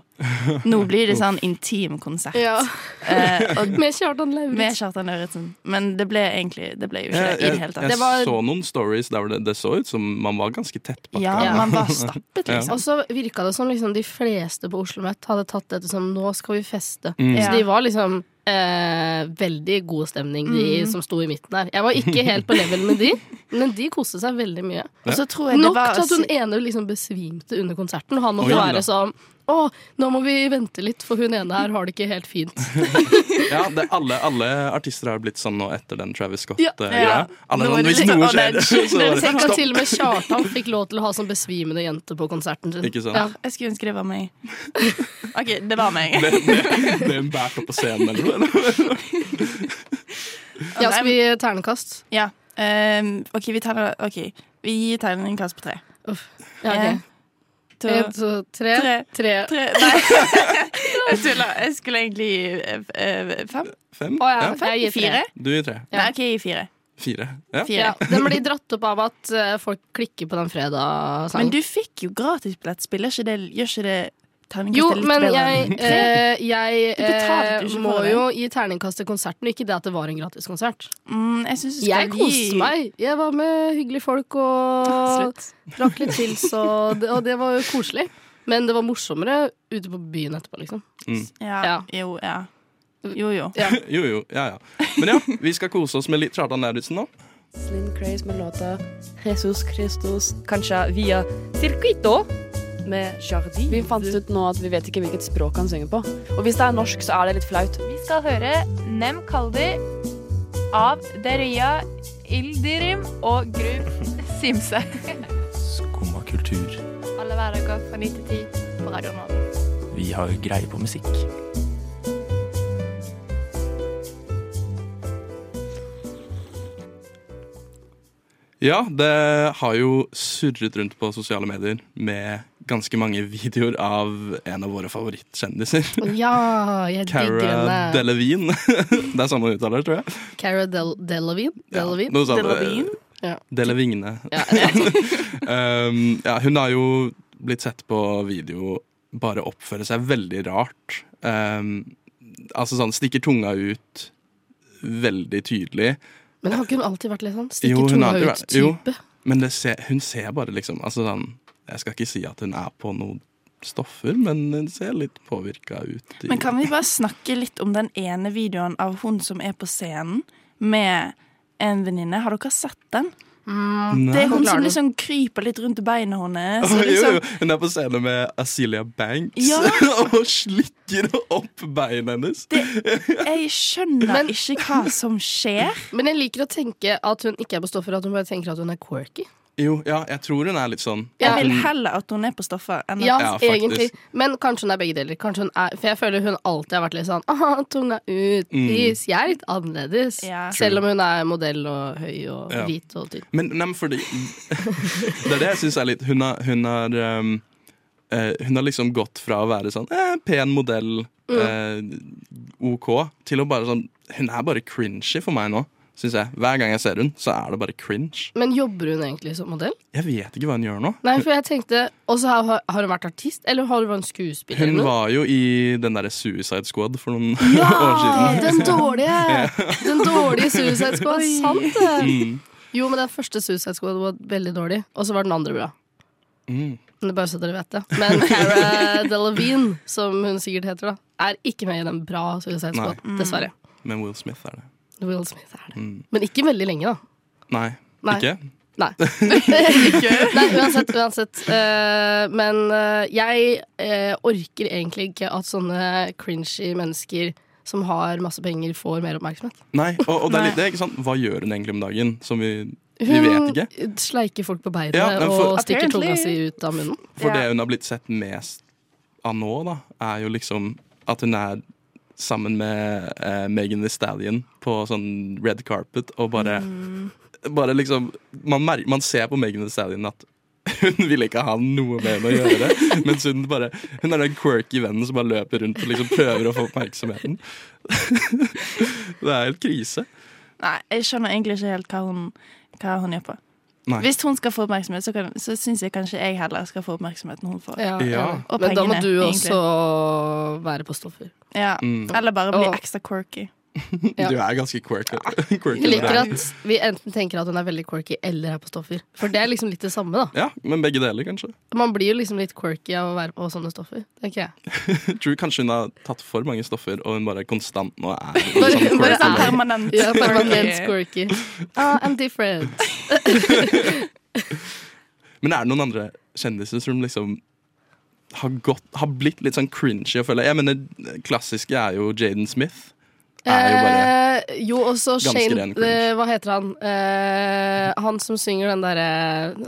Speaker 6: Nå blir det sånn intim konsert. Eh, og
Speaker 5: Med Kjartan
Speaker 6: med
Speaker 5: Lauritzen.
Speaker 6: Kjartan Lauritzen. Men det ble egentlig Det ble jo ikke
Speaker 4: Jeg,
Speaker 6: det i
Speaker 4: jeg,
Speaker 6: det hele
Speaker 4: jeg
Speaker 6: tatt.
Speaker 5: var-
Speaker 4: så noen stories der det, det så ut som man var ganske tett pakka.
Speaker 6: Ja,
Speaker 5: Ja.
Speaker 6: man var stappet,
Speaker 4: Ja.
Speaker 6: liksom.
Speaker 5: Og så virka det som liksom de fleste på Oslo Met hadde tatt dette som 'nå skal vi feste'.
Speaker 4: Mm.
Speaker 5: Så de var liksom eh, veldig god stemning,
Speaker 6: Mm.
Speaker 5: de som sto i midten der. Jeg var ikke helt på level med de, men de koste seg veldig mye.
Speaker 6: Og så tror jeg det
Speaker 5: Nok
Speaker 6: var
Speaker 5: til at hun ene liksom besvimte under konserten, og han måtte
Speaker 4: Oi, da.
Speaker 5: være sånn å, nå må vi vente litt, for hun ene her har det ikke helt fint.
Speaker 4: Ja, det, alle, alle artister har blitt sånn nå etter den Travis
Speaker 5: Ja.
Speaker 4: Scott-greia.
Speaker 6: Ja.
Speaker 4: Alle
Speaker 6: Nå
Speaker 4: sånn,
Speaker 6: er det
Speaker 4: Hvis
Speaker 6: litt
Speaker 4: noe
Speaker 6: sånn,
Speaker 4: skjer,
Speaker 6: nei,
Speaker 4: så
Speaker 6: skjønner du
Speaker 4: var det
Speaker 5: Tenk at til og med Kjartan fikk lov til å ha sånn besvimende jente på konserten sin.
Speaker 4: Ikke sant?
Speaker 5: Ja.
Speaker 6: Jeg skulle ønske det var meg. OK, det var meg.
Speaker 4: ble, ble, ble hun båret opp på scenen eller noe?
Speaker 5: ja, skal vi ternekast?
Speaker 6: Ja. ehm, OK, vi teller OK. Vi gir tegningen en kast på tre.
Speaker 5: Uff. Ja, ok. Eh,
Speaker 6: En, to,
Speaker 5: En, to, tre.
Speaker 6: Eh, Tre.
Speaker 5: Tre.
Speaker 6: tre Nei. Jeg tuller. Jeg skulle egentlig gi eh, eh, fem.
Speaker 4: Fem?
Speaker 5: Å ja,
Speaker 4: Ja.
Speaker 5: jeg gir
Speaker 6: Fire?
Speaker 5: fire.
Speaker 4: Du gir tre.
Speaker 5: Ja.
Speaker 6: Nei, OK, jeg gir fire.
Speaker 4: Fire. Ja.
Speaker 5: Ja,
Speaker 6: fire.
Speaker 5: den blir dratt opp av at eh, folk klikker på den fredagssangen.
Speaker 6: Men du fikk jo gratisbillett. Spiller ikke det Gjør ikke det terningkastet
Speaker 5: Jo,
Speaker 6: litt
Speaker 5: men
Speaker 6: bedre
Speaker 5: jeg,
Speaker 6: enn tre?
Speaker 5: eh, jeg
Speaker 6: Du betalte
Speaker 5: eh,
Speaker 6: jo ikke for
Speaker 5: må
Speaker 6: det.
Speaker 5: jo gi terningkast til konserten, og ikke det at det var en gratis konsert.
Speaker 6: Mm, jeg syns du skal
Speaker 5: Jeg koste meg. Jeg var med hyggelige folk og
Speaker 6: Slutt.
Speaker 5: drakk litt chils, og det, og det var jo koselig. Men det var morsommere ute på byen etterpå, liksom.
Speaker 6: Ja.
Speaker 5: Ja.
Speaker 6: Jo, ja. Jo, jo.
Speaker 5: Ja.
Speaker 4: Jo, jo. Ja, ja. Men ja, vi skal kose oss med litt Kjartan Lauritzen nå.
Speaker 1: Slim Craze med låta Jesus Christus, kanskje via Circuito med Jardi. Vi fant ut nå at vi vet ikke hvilket språk han synger på. Og hvis det er norsk, så er det litt flaut.
Speaker 8: Vi skal høre Nem Kaldi av Deria Ildirim og Gru Simse.
Speaker 9: Skumma kultur.
Speaker 8: Alle hverdager fra 9 til 10 på Radio Nova.
Speaker 9: Vi har greie på musikk.
Speaker 4: Ja, det har jo surret rundt på sosiale medier med ganske mange videoer av en av våre favorittkjendiser.
Speaker 5: Ja, jeg digger
Speaker 4: Cara
Speaker 5: henne.
Speaker 4: Delevingne. Det er sånn man uttaler, tror jeg.
Speaker 5: Cara Del Delavine.
Speaker 4: Ja,
Speaker 5: Delavine?
Speaker 4: noe sånt.
Speaker 6: Delavine?
Speaker 5: Ja.
Speaker 4: Delevingne.
Speaker 5: Ja, ja.
Speaker 4: Um, ja, hun har jo blitt sett på video bare oppføre seg veldig rart. Um, altså sånn stikker tunga ut veldig tydelig.
Speaker 5: Men har ikke hun alltid vært litt sånn
Speaker 4: Jo,
Speaker 5: stikker
Speaker 4: hun
Speaker 5: tunga
Speaker 4: har alltid vært- jo.
Speaker 5: ut-type?
Speaker 4: Men det ser, hun ser bare liksom altså sånn, Jeg skal ikke si at hun er på noen stoffer, men hun ser litt påvirka ut. i-
Speaker 6: Men kan vi bare snakke litt om den ene videoen av hun som er på scenen med en venninne? Har dere sett den?
Speaker 5: Mm.
Speaker 4: Nei.
Speaker 6: Det er hun
Speaker 5: Forklar
Speaker 6: som
Speaker 5: den.
Speaker 6: liksom kryper litt rundt beina hennes.
Speaker 4: Å,
Speaker 6: Og
Speaker 4: jo,
Speaker 6: liksom,
Speaker 4: jo. Hun er på scenen med Azelia Banks
Speaker 6: Ja.
Speaker 4: og slikker opp beina hennes.
Speaker 6: det, liksom, jeg skjønner
Speaker 5: Men-
Speaker 6: ikke hva som skjer.
Speaker 5: Men jeg liker å tenke at hun ikke er på stoffer, at hun bare tenker at hun er quirky.
Speaker 4: Jo, ja, jeg tror hun er litt sånn.
Speaker 5: Ja.
Speaker 6: Jeg vil heller at hun er på stoffer enn at
Speaker 5: Ja,
Speaker 4: Ja, faktisk.
Speaker 5: egentlig. Men kanskje hun er begge deler. Kanskje hun er, for jeg føler hun alltid har vært litt sånn Aha, tunga ut.
Speaker 4: Mm.
Speaker 5: Is. Jeg er litt annerledes.
Speaker 6: Ja.
Speaker 5: Selv om hun er modell og høy og
Speaker 4: Ja.
Speaker 5: hvit og tynn.
Speaker 4: Men nei, men fordi Det er det jeg syns er litt Hun har, hun har, ehm, eh, hun har liksom gått fra å være sånn eh, pen modell, eh, OK, til å bare sånn Hun er bare cringy for meg nå, syns jeg. Hver gang jeg ser hun, så er det bare cringe.
Speaker 5: Men jobber hun egentlig som modell?
Speaker 4: Jeg vet ikke hva hun gjør nå.
Speaker 5: Nei, for jeg tenkte Og så har, har hun vært artist, eller har hun vært en skuespiller?
Speaker 4: Hun
Speaker 5: eller noe?
Speaker 4: var jo i den derre Suicide Squad for noen år siden.
Speaker 5: Den dårlige! Den dårlige Suicide Squad. Sant det!
Speaker 4: Mm.
Speaker 5: Jo, men den første Suicide Squad var veldig dårlig, og så var den andre bra.
Speaker 4: Mm.
Speaker 5: Men det er Bare så dere vet det. Men Cara Delevingne, som hun sikkert heter, da er ikke med i den bra Suicide
Speaker 4: Nei.
Speaker 5: Squad, dessverre.
Speaker 4: Men Will Smith er det.
Speaker 5: Will Smith er det. Men ikke veldig lenge, da.
Speaker 4: Nei,
Speaker 5: Nei.
Speaker 4: ikke?
Speaker 5: Nei. Nei, uansett, uansett. Eh, men eh, jeg eh, orker egentlig ikke at sånne cringy mennesker som har masse penger, får mer oppmerksomhet.
Speaker 4: Nei, og, og det er
Speaker 6: Nei.
Speaker 4: litt det, ikke sant? Hva gjør hun egentlig om dagen? Som vi, vi vet ikke.
Speaker 5: Hun sleiker folk på beinet
Speaker 4: Ja, men for-
Speaker 5: og stikker tunga si
Speaker 6: Apparently.
Speaker 5: ut av munnen.
Speaker 4: For
Speaker 6: Ja.
Speaker 4: det hun har blitt sett mest av nå, da, er jo liksom at hun er sammen med eh, Megan Thee Stallion på sånn red carpet og bare Bare liksom man, mer man ser på Megan Thee Stallion at hun vil ikke ha noe med henne å gjøre. mens hun bare Hun er den quirky vennen som bare løper rundt og liksom prøver å få oppmerksomheten. det er helt krise.
Speaker 6: Nei, jeg skjønner egentlig ikke helt hva hun, hva hun gjør på.
Speaker 4: Nei.
Speaker 6: Hvis hun skal få oppmerksomhet, så, kan- så syns jeg kanskje jeg heller skal få oppmerksomheten hun får.
Speaker 5: Ja,
Speaker 4: Ja.
Speaker 5: enig.
Speaker 6: Og
Speaker 5: Men da må
Speaker 6: pengene,
Speaker 5: du
Speaker 6: egentlig.
Speaker 5: også være på stoffer.
Speaker 6: Ja.
Speaker 4: Mm.
Speaker 6: Eller bare bli
Speaker 5: Og-
Speaker 6: ekstra quirky.
Speaker 5: Ja.
Speaker 4: Du er ganske quirky. quirky
Speaker 5: Jeg liker
Speaker 4: der.
Speaker 5: at vi enten tenker at hun er veldig quirky eller er på stoffer. For det er liksom litt det samme, da.
Speaker 4: Ja, men begge deler, kanskje.
Speaker 5: Man blir jo liksom litt quirky av å være på sånne stoffer, tenker jeg.
Speaker 4: Jeg tror kanskje hun har tatt for mange stoffer, og hun bare konstant nå er
Speaker 5: Bare-
Speaker 4: sånn
Speaker 6: Bare
Speaker 4: quirky.
Speaker 6: sånn permanent.
Speaker 5: Ja, permanent
Speaker 6: quirky.
Speaker 5: quirky. Ah, I'm different.
Speaker 4: Men er det noen andre kjendiser som liksom har, gått, har blitt litt sånn cringy? Jeg, føler. jeg mener, klassiske er jo Jaden Smith. Er jo bare
Speaker 5: Eh, jo, også
Speaker 4: ganske
Speaker 5: Shane
Speaker 4: ren cringe.
Speaker 5: eh, Hva heter han? Eh, han som synger den derre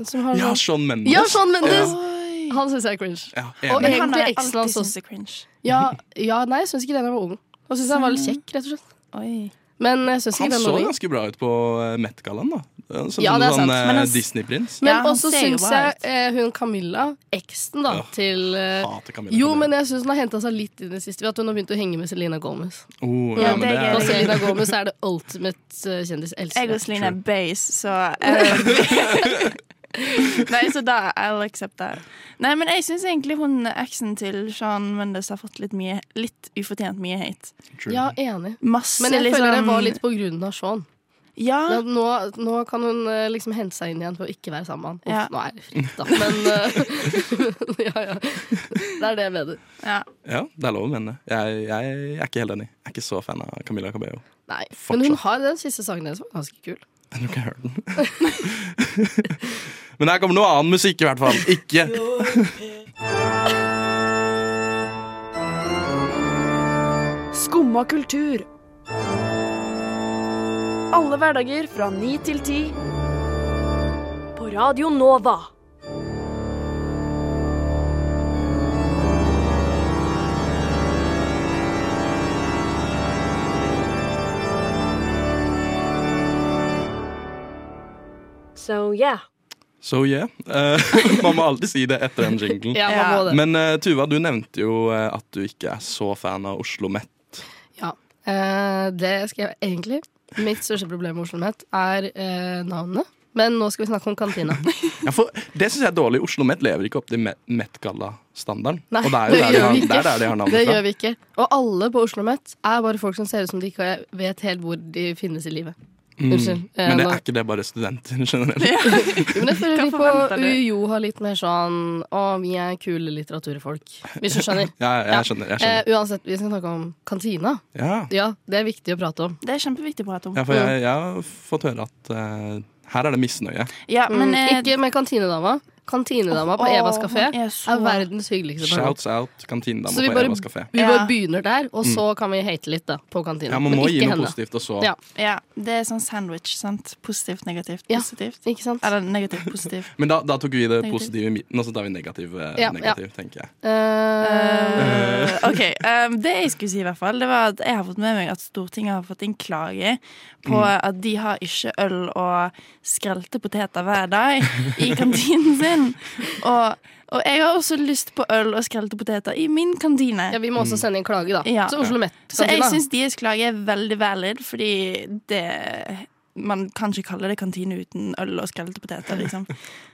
Speaker 5: som har-
Speaker 4: Ja, Sean Mendes.
Speaker 5: Eh, Ja, Shawn Mendes!
Speaker 6: Oi.
Speaker 5: Han syns jeg er cringe.
Speaker 4: Ja,
Speaker 5: Og
Speaker 4: enig.
Speaker 5: egentlig
Speaker 6: han har jeg
Speaker 5: eksen hans
Speaker 6: alltid
Speaker 5: også.
Speaker 6: syntes er cringe.
Speaker 5: Ja, ja nei, jeg syns ikke den var ung. Og syns han var litt kjekk, rett og slett.
Speaker 6: Oi.
Speaker 5: Men jeg syns ikke
Speaker 4: Han
Speaker 5: den
Speaker 4: så
Speaker 5: var ung.
Speaker 4: ganske bra ut på eh, Met-gallaen, da. Eh, Som
Speaker 5: Ja, det er
Speaker 4: en sånn
Speaker 5: sant.
Speaker 4: eh,
Speaker 6: Men han s-
Speaker 4: Disney-prins.
Speaker 5: Men
Speaker 6: Ja, han
Speaker 5: også
Speaker 6: ser jo
Speaker 5: syns
Speaker 6: bra
Speaker 5: jeg
Speaker 6: ut.
Speaker 5: eh, hun Camilla, eksen da,
Speaker 4: Ja.
Speaker 5: til eh,
Speaker 4: Hater Camilla
Speaker 5: Jo,
Speaker 4: Cabello.
Speaker 5: men jeg syns hun har henta seg litt i det siste ved at hun har begynt å henge med Selena Gomez.
Speaker 4: oh, ja,
Speaker 6: Ja,
Speaker 4: men
Speaker 6: det er
Speaker 4: det
Speaker 6: gøy.
Speaker 5: Og
Speaker 4: er,
Speaker 6: Det
Speaker 5: Selena Gomez er det ultimate eh, kjendis. Elsker
Speaker 6: Jeg og
Speaker 5: det.
Speaker 6: Celine er base, så eh, Nei, så da I'll accept that. Nei, men jeg syns egentlig hun eksen til Sean Mendes har fått litt mye Litt ufortjent mye hate.
Speaker 4: true.
Speaker 5: Ja, enig.
Speaker 6: Masse
Speaker 5: Men jeg
Speaker 6: liksom
Speaker 5: føler det var litt på grunn av Sean.
Speaker 6: Ja.
Speaker 5: Ja, nå, nå kan hun eh, liksom hente seg inn igjen ved å ikke være sammen med
Speaker 6: Ja.
Speaker 5: han. Uff, Nå er det fritt, da. Men eh, ja, ja. Det er det jeg mener.
Speaker 6: ja.
Speaker 4: ja, det er lov å mene. Jeg, jeg er ikke helt enig. Jeg er ikke så fan av Camilla Cabello.
Speaker 5: Nei. Men hun
Speaker 4: Fortsatt.
Speaker 5: har den siste sangen hennes var ganske kul.
Speaker 4: Jeg tror ikke jeg har hørt den. Men her kommer noe annen musikk, i hvert fall. Ikke
Speaker 1: Skumma kultur. Alle hverdager fra ni til ti. På Radio Nova. So yeah.
Speaker 4: So yeah. Eh, man må alltid si det etter en jingle.
Speaker 5: Ja, man må det.
Speaker 4: Men eh, Tuva, du nevnte jo eh, at du ikke er så fan av Oslo Met.
Speaker 5: Ja. Eh, det skal jeg egentlig. Mitt største problem med Oslo-nett er eh, navnene. Men nå skal vi snakke om kantina.
Speaker 4: Ja, for det syns jeg er dårlig. Oslo Met lever ikke opp til Met- Met-galla-standarden.
Speaker 5: Nei,
Speaker 4: Og det er jo der de har,
Speaker 5: det gjør vi ikke.
Speaker 4: det er der de har
Speaker 5: Det
Speaker 4: navnet fra.
Speaker 5: gjør vi ikke. Og alle på Oslo-nett er bare folk som ser ut som de ikke vet helt hvor de finnes i livet. Unnskyld. Eh,
Speaker 4: Mm. Men det
Speaker 5: nå-
Speaker 4: er ikke det bare studenter generelt?
Speaker 5: Jo, Men
Speaker 6: Hva
Speaker 5: jeg føler vi
Speaker 6: forventer
Speaker 5: på
Speaker 6: du?
Speaker 5: UiO har litt mer sånn Å, vi er kule litteraturfolk. Hvis du skjønner.
Speaker 4: Ja,
Speaker 5: Ja.
Speaker 4: jeg skjønner. Jeg
Speaker 5: Eh,
Speaker 4: skjønner.
Speaker 5: uansett, vi skal snakke om kantina.
Speaker 4: Ja.
Speaker 5: Ja, det er viktig å prate om.
Speaker 6: Det er kjempeviktig å prate om.
Speaker 4: ja, for jeg, jeg har fått høre at eh, her er det misnøye.
Speaker 6: Ja, men eh,
Speaker 5: Mm, Ikke med kantinedama. Kantinedama på
Speaker 6: Åh,
Speaker 5: Evas kafé
Speaker 6: hun er så-
Speaker 5: er verdens hyggeligste person.
Speaker 4: Shouts out kantinedama
Speaker 5: Så vi
Speaker 4: på
Speaker 5: bare-
Speaker 4: Evas kafé.
Speaker 5: Vi bare
Speaker 6: Ja.
Speaker 5: begynner der, og så kan vi hate litt da, på kantina.
Speaker 4: Ja, man
Speaker 5: Men
Speaker 4: må gi
Speaker 5: ikke
Speaker 4: noe
Speaker 5: henne.
Speaker 4: positivt, og så
Speaker 5: Ja.
Speaker 6: ja, det er sånn sandwich, sant? Positivt, negativt,
Speaker 5: Ja.
Speaker 6: positivt.
Speaker 5: Ikke sant?
Speaker 6: Eller negativt, positivt.
Speaker 4: Men da, da tok vi det
Speaker 6: Negativ.
Speaker 4: positive i midten, og så tar vi negativ, eh,
Speaker 5: Ja, ja.
Speaker 4: negativ tenker jeg.
Speaker 5: Eh,
Speaker 6: Eh, OK. eh, det jeg skulle si, i hvert fall, det var at jeg har fått med meg at Stortinget har fått inn klage på at de har ikke øl og skrelte poteter hver dag i kantinen sin. Og, og jeg har også lyst på øl og skrelte poteter i min kantine.
Speaker 5: ja, vi må
Speaker 4: mm.
Speaker 5: også sende inn klage, da.
Speaker 6: Ja.
Speaker 5: Så Oslo
Speaker 6: Så jeg
Speaker 5: Met-kantina.
Speaker 6: syns deres klage er veldig valid, fordi det Man kan ikke kalle det kantine uten øl og skrelte poteter, liksom.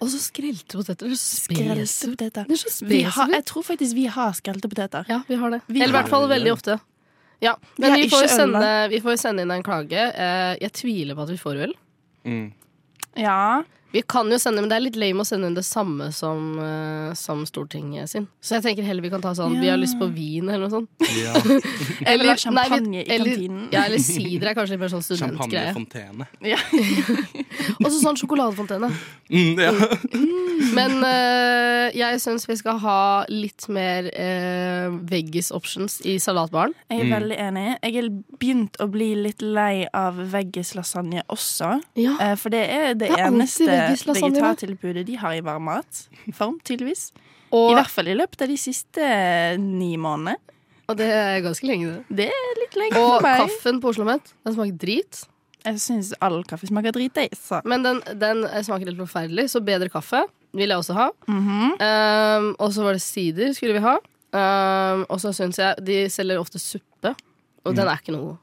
Speaker 5: Og så skrelte poteter.
Speaker 6: Skrelte poteter.
Speaker 5: Det er så
Speaker 6: Vi har,
Speaker 5: spesifikt.
Speaker 6: jeg tror faktisk vi har skrelte poteter.
Speaker 5: Ja, vi har det.
Speaker 6: Vi
Speaker 5: Eller i
Speaker 6: har
Speaker 5: hvert fall
Speaker 4: det.
Speaker 5: veldig ofte. Ja,
Speaker 6: Vi
Speaker 5: men
Speaker 6: har
Speaker 5: vi
Speaker 6: ikke
Speaker 5: får,
Speaker 6: øl,
Speaker 5: sende,
Speaker 6: da.
Speaker 5: vi får sende inn en klage. Eh, Jeg tviler på at vi får øl.
Speaker 4: Mm.
Speaker 6: Ja.
Speaker 5: Vi kan jo sende, men det er litt lame å sende det samme som, eh, som Stortinget sin. Så jeg tenker heller vi kan ta sånn Vi har lyst på vin, eller noe sånt.
Speaker 4: Ja.
Speaker 6: Eller
Speaker 5: Eller-
Speaker 6: champagne
Speaker 5: nei, vi-
Speaker 6: i
Speaker 5: eller-
Speaker 6: kantinen.
Speaker 5: Ja, eller sider er kanskje litt mer sånn studentgreie.
Speaker 4: Champagnefontene.
Speaker 5: Og så sånn sjokoladefontene.
Speaker 4: Mm, ja.
Speaker 5: Men eh, jeg syns vi skal ha litt mer eh, veggis options i salatbaren.
Speaker 6: Jeg er veldig enig. Jeg er begynt å bli litt lei av veggislasagne også.
Speaker 5: Ja.
Speaker 6: Eh, For det er det,
Speaker 5: Det er alltid
Speaker 6: eneste
Speaker 5: veggislasagne, da.
Speaker 6: vegetartilbudet de har i varmmatform, tydeligvis. I
Speaker 5: Og,
Speaker 6: hvert fall i løpet av de siste eh, ni månedene.
Speaker 5: og det er ganske lenge, det.
Speaker 6: Det er litt lenge
Speaker 5: Og
Speaker 6: for meg.
Speaker 5: kaffen på Oslo Met, den smaker drit.
Speaker 6: Jeg syns all kaffe smaker drit. jeg, Så.
Speaker 5: Men den, den smaker helt forferdelig, så bedre kaffe vil jeg også ha. um, og så var det sider skulle vi ha. Um, og så syns jeg de selger ofte suppe, og
Speaker 4: Mm.
Speaker 5: den er ikke noe god.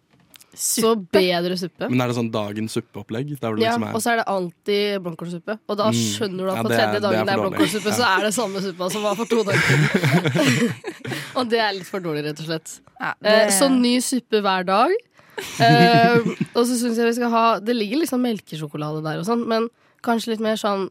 Speaker 5: Så bedre suppe.
Speaker 4: Men er det sånn dagens suppeopplegg? Der hvor det
Speaker 5: Ja,
Speaker 4: liksom er
Speaker 5: og så er det alltid blomkålsuppe. Og da skjønner du at
Speaker 4: Ja,
Speaker 5: på
Speaker 4: det er- det
Speaker 5: tredje
Speaker 4: er
Speaker 5: dagen det er
Speaker 4: for dårlig.
Speaker 5: blomkålsuppe, så er det samme suppa som var for to dager siden. og det er litt for dårlig, rett og slett.
Speaker 6: Ja,
Speaker 5: Eh,
Speaker 6: det-
Speaker 5: Så ny suppe hver dag. Eh, og så syns jeg vi skal ha Det ligger liksom melkesjokolade der og sånn, men kanskje litt mer sånn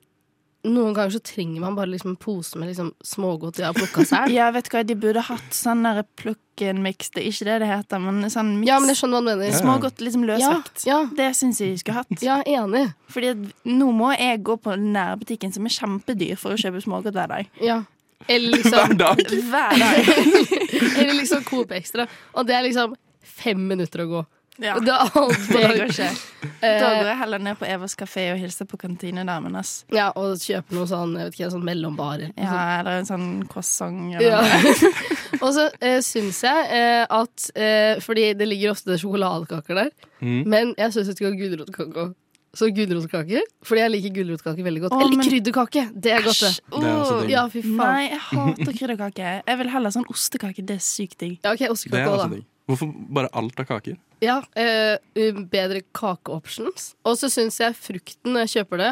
Speaker 5: Noen ganger så trenger man bare liksom en pose med liksom smågodt de har plukka selv.
Speaker 6: Ja, vet du hva, de burde hatt sånn der plukken-mix. Det er ikke det det heter, men sånn mix.
Speaker 5: Ja, men jeg skjønner hva du mener.
Speaker 6: Smågodt liksom
Speaker 5: Ja,
Speaker 6: løsvekt.
Speaker 5: ja,
Speaker 6: Det syns jeg de skulle hatt.
Speaker 5: ja, enig.
Speaker 6: Fordi at nå må jeg gå på nærbutikken, som er kjempedyr, for å kjøpe smågodt hver dag.
Speaker 5: Ja. Eller liksom
Speaker 4: Hver dag!
Speaker 6: Hver dag.
Speaker 5: Eller liksom Coop Extra. Og det er liksom fem minutter å gå.
Speaker 6: Ja. Eh,
Speaker 5: Og Det er alt Eh, på
Speaker 6: Det går
Speaker 5: dag.
Speaker 6: ikke. Da går jeg heller ned på Evas kafé og hilser på kantinedamen. ass.
Speaker 5: Ja, og kjøpe noe sånn, jeg vet ikke, sånn mellombarer.
Speaker 6: Ja, eller en sånn croissant.
Speaker 5: Ja.
Speaker 6: Eller noe.
Speaker 5: og så eh, syns jeg eh, at eh, Fordi det ligger ofte sjokoladekaker der,
Speaker 4: Mm.
Speaker 5: men jeg syns jeg skal ha gulrotkake òg. Så gulrotkaker, fordi jeg liker gulrotkaker veldig godt.
Speaker 6: Å,
Speaker 5: Eller
Speaker 6: men-
Speaker 5: krydderkake! Det er godt, det.
Speaker 4: Det er også
Speaker 6: Åh,
Speaker 4: digg.
Speaker 5: Ja, fy faen.
Speaker 6: Nei, jeg hater krydderkake. Jeg vil heller sånn ostekake. Det er sykt digg.
Speaker 5: Ja, ok,
Speaker 4: Det er også
Speaker 5: Ostekake òg, da.
Speaker 4: altså digg. Hvorfor bare alt av kaker?
Speaker 5: Ja, eh, um, bedre kakeoptions. Og så syns jeg frukten når jeg kjøper det,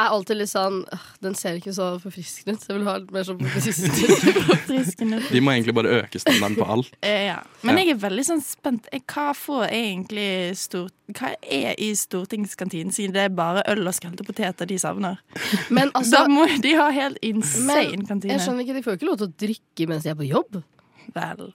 Speaker 5: er alltid litt sånn «Åh, Den ser ikke så forfriskende ut. så Jeg vil ha litt mer sånn forfriskende.
Speaker 6: Friskende.
Speaker 4: De må egentlig bare øke standarden på alt.
Speaker 6: Eh, ja. Men
Speaker 4: Ja.
Speaker 6: jeg er veldig sånn spent. Eh, Hva får jeg egentlig stor... Hva er i stortingskantinen, siden det er bare øl og skrelte poteter de savner?
Speaker 5: Men
Speaker 6: Da
Speaker 5: altså,
Speaker 6: må de ha helt insane
Speaker 5: Men
Speaker 6: kantine.
Speaker 5: jeg skjønner ikke, de får jo ikke lov til å drikke mens de er på jobb.
Speaker 6: Vel.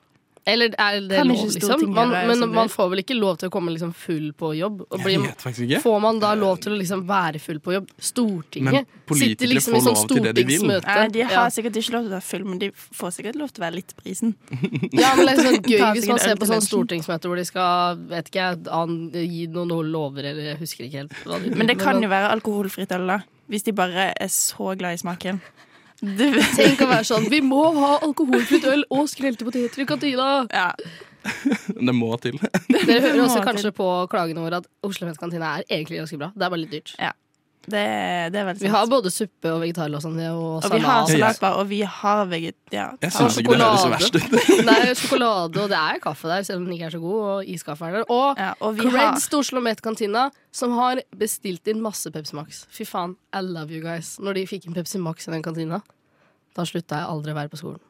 Speaker 5: Eller er det
Speaker 6: Kan
Speaker 5: lov,
Speaker 6: ikke
Speaker 5: liksom?
Speaker 6: Stortinget
Speaker 5: Man,
Speaker 6: være
Speaker 5: men
Speaker 6: som
Speaker 5: man
Speaker 6: det?
Speaker 5: får vel ikke lov til å komme liksom full på jobb? Og bli,
Speaker 4: sånn Jeg vet faktisk ikke.
Speaker 5: får man da lov til å liksom være full på jobb?
Speaker 4: Men
Speaker 5: Stortinget
Speaker 4: politikere
Speaker 5: sitter liksom i
Speaker 4: får
Speaker 5: sånn
Speaker 4: lov til det de vil.
Speaker 5: stortingsmøte.
Speaker 6: Nei, de har
Speaker 5: ja.
Speaker 6: sikkert ikke lov til å være full, men de får sikkert lov til å være litt prisen.
Speaker 5: Mm. ja, men det er sånn gøy
Speaker 6: Ta
Speaker 5: hvis
Speaker 6: sikkert
Speaker 5: man
Speaker 6: øl
Speaker 5: ser på
Speaker 6: til
Speaker 5: sånn
Speaker 6: lunsjen.
Speaker 5: stortingsmøte hvor de skal vet ikke, jeg, an, gi noen noe lover eller jeg husker ikke helt. Hva de,
Speaker 6: Men det kan jo være alkoholfritt øl, da. Hvis de bare er så glad i smaken. Du,
Speaker 5: Tenk å være sånn Vi må ha alkoholfritt øl og skrelte poteter i kantina!
Speaker 6: ja.
Speaker 4: Det må til.
Speaker 5: Dere hører også
Speaker 6: Må til.
Speaker 5: kanskje på klagene våre at Oslo Mets-kantina er egentlig ganske bra. Det er bare litt dyrt.
Speaker 6: Det, det er veldig
Speaker 5: Vi har både suppe og vegetarlasagne og
Speaker 6: Og vi har
Speaker 5: salat.
Speaker 4: Jeg-
Speaker 6: salatbar, og vi har veget... Ja.
Speaker 4: Jeg syns
Speaker 5: Ah,
Speaker 4: ikke det høres så verst ut.
Speaker 5: Nei, sjokolade, og det er kaffe der, selv om den ikke er så god. Og iskaffe er der. Og
Speaker 6: Ja, og vi har
Speaker 5: creds til Oslo Met-kantina, som har bestilt inn masse Pepsi Max. Fy faen, I love you guys. Når de fikk inn Pepsi Max i den kantina, da slutta jeg aldri å være på skolen.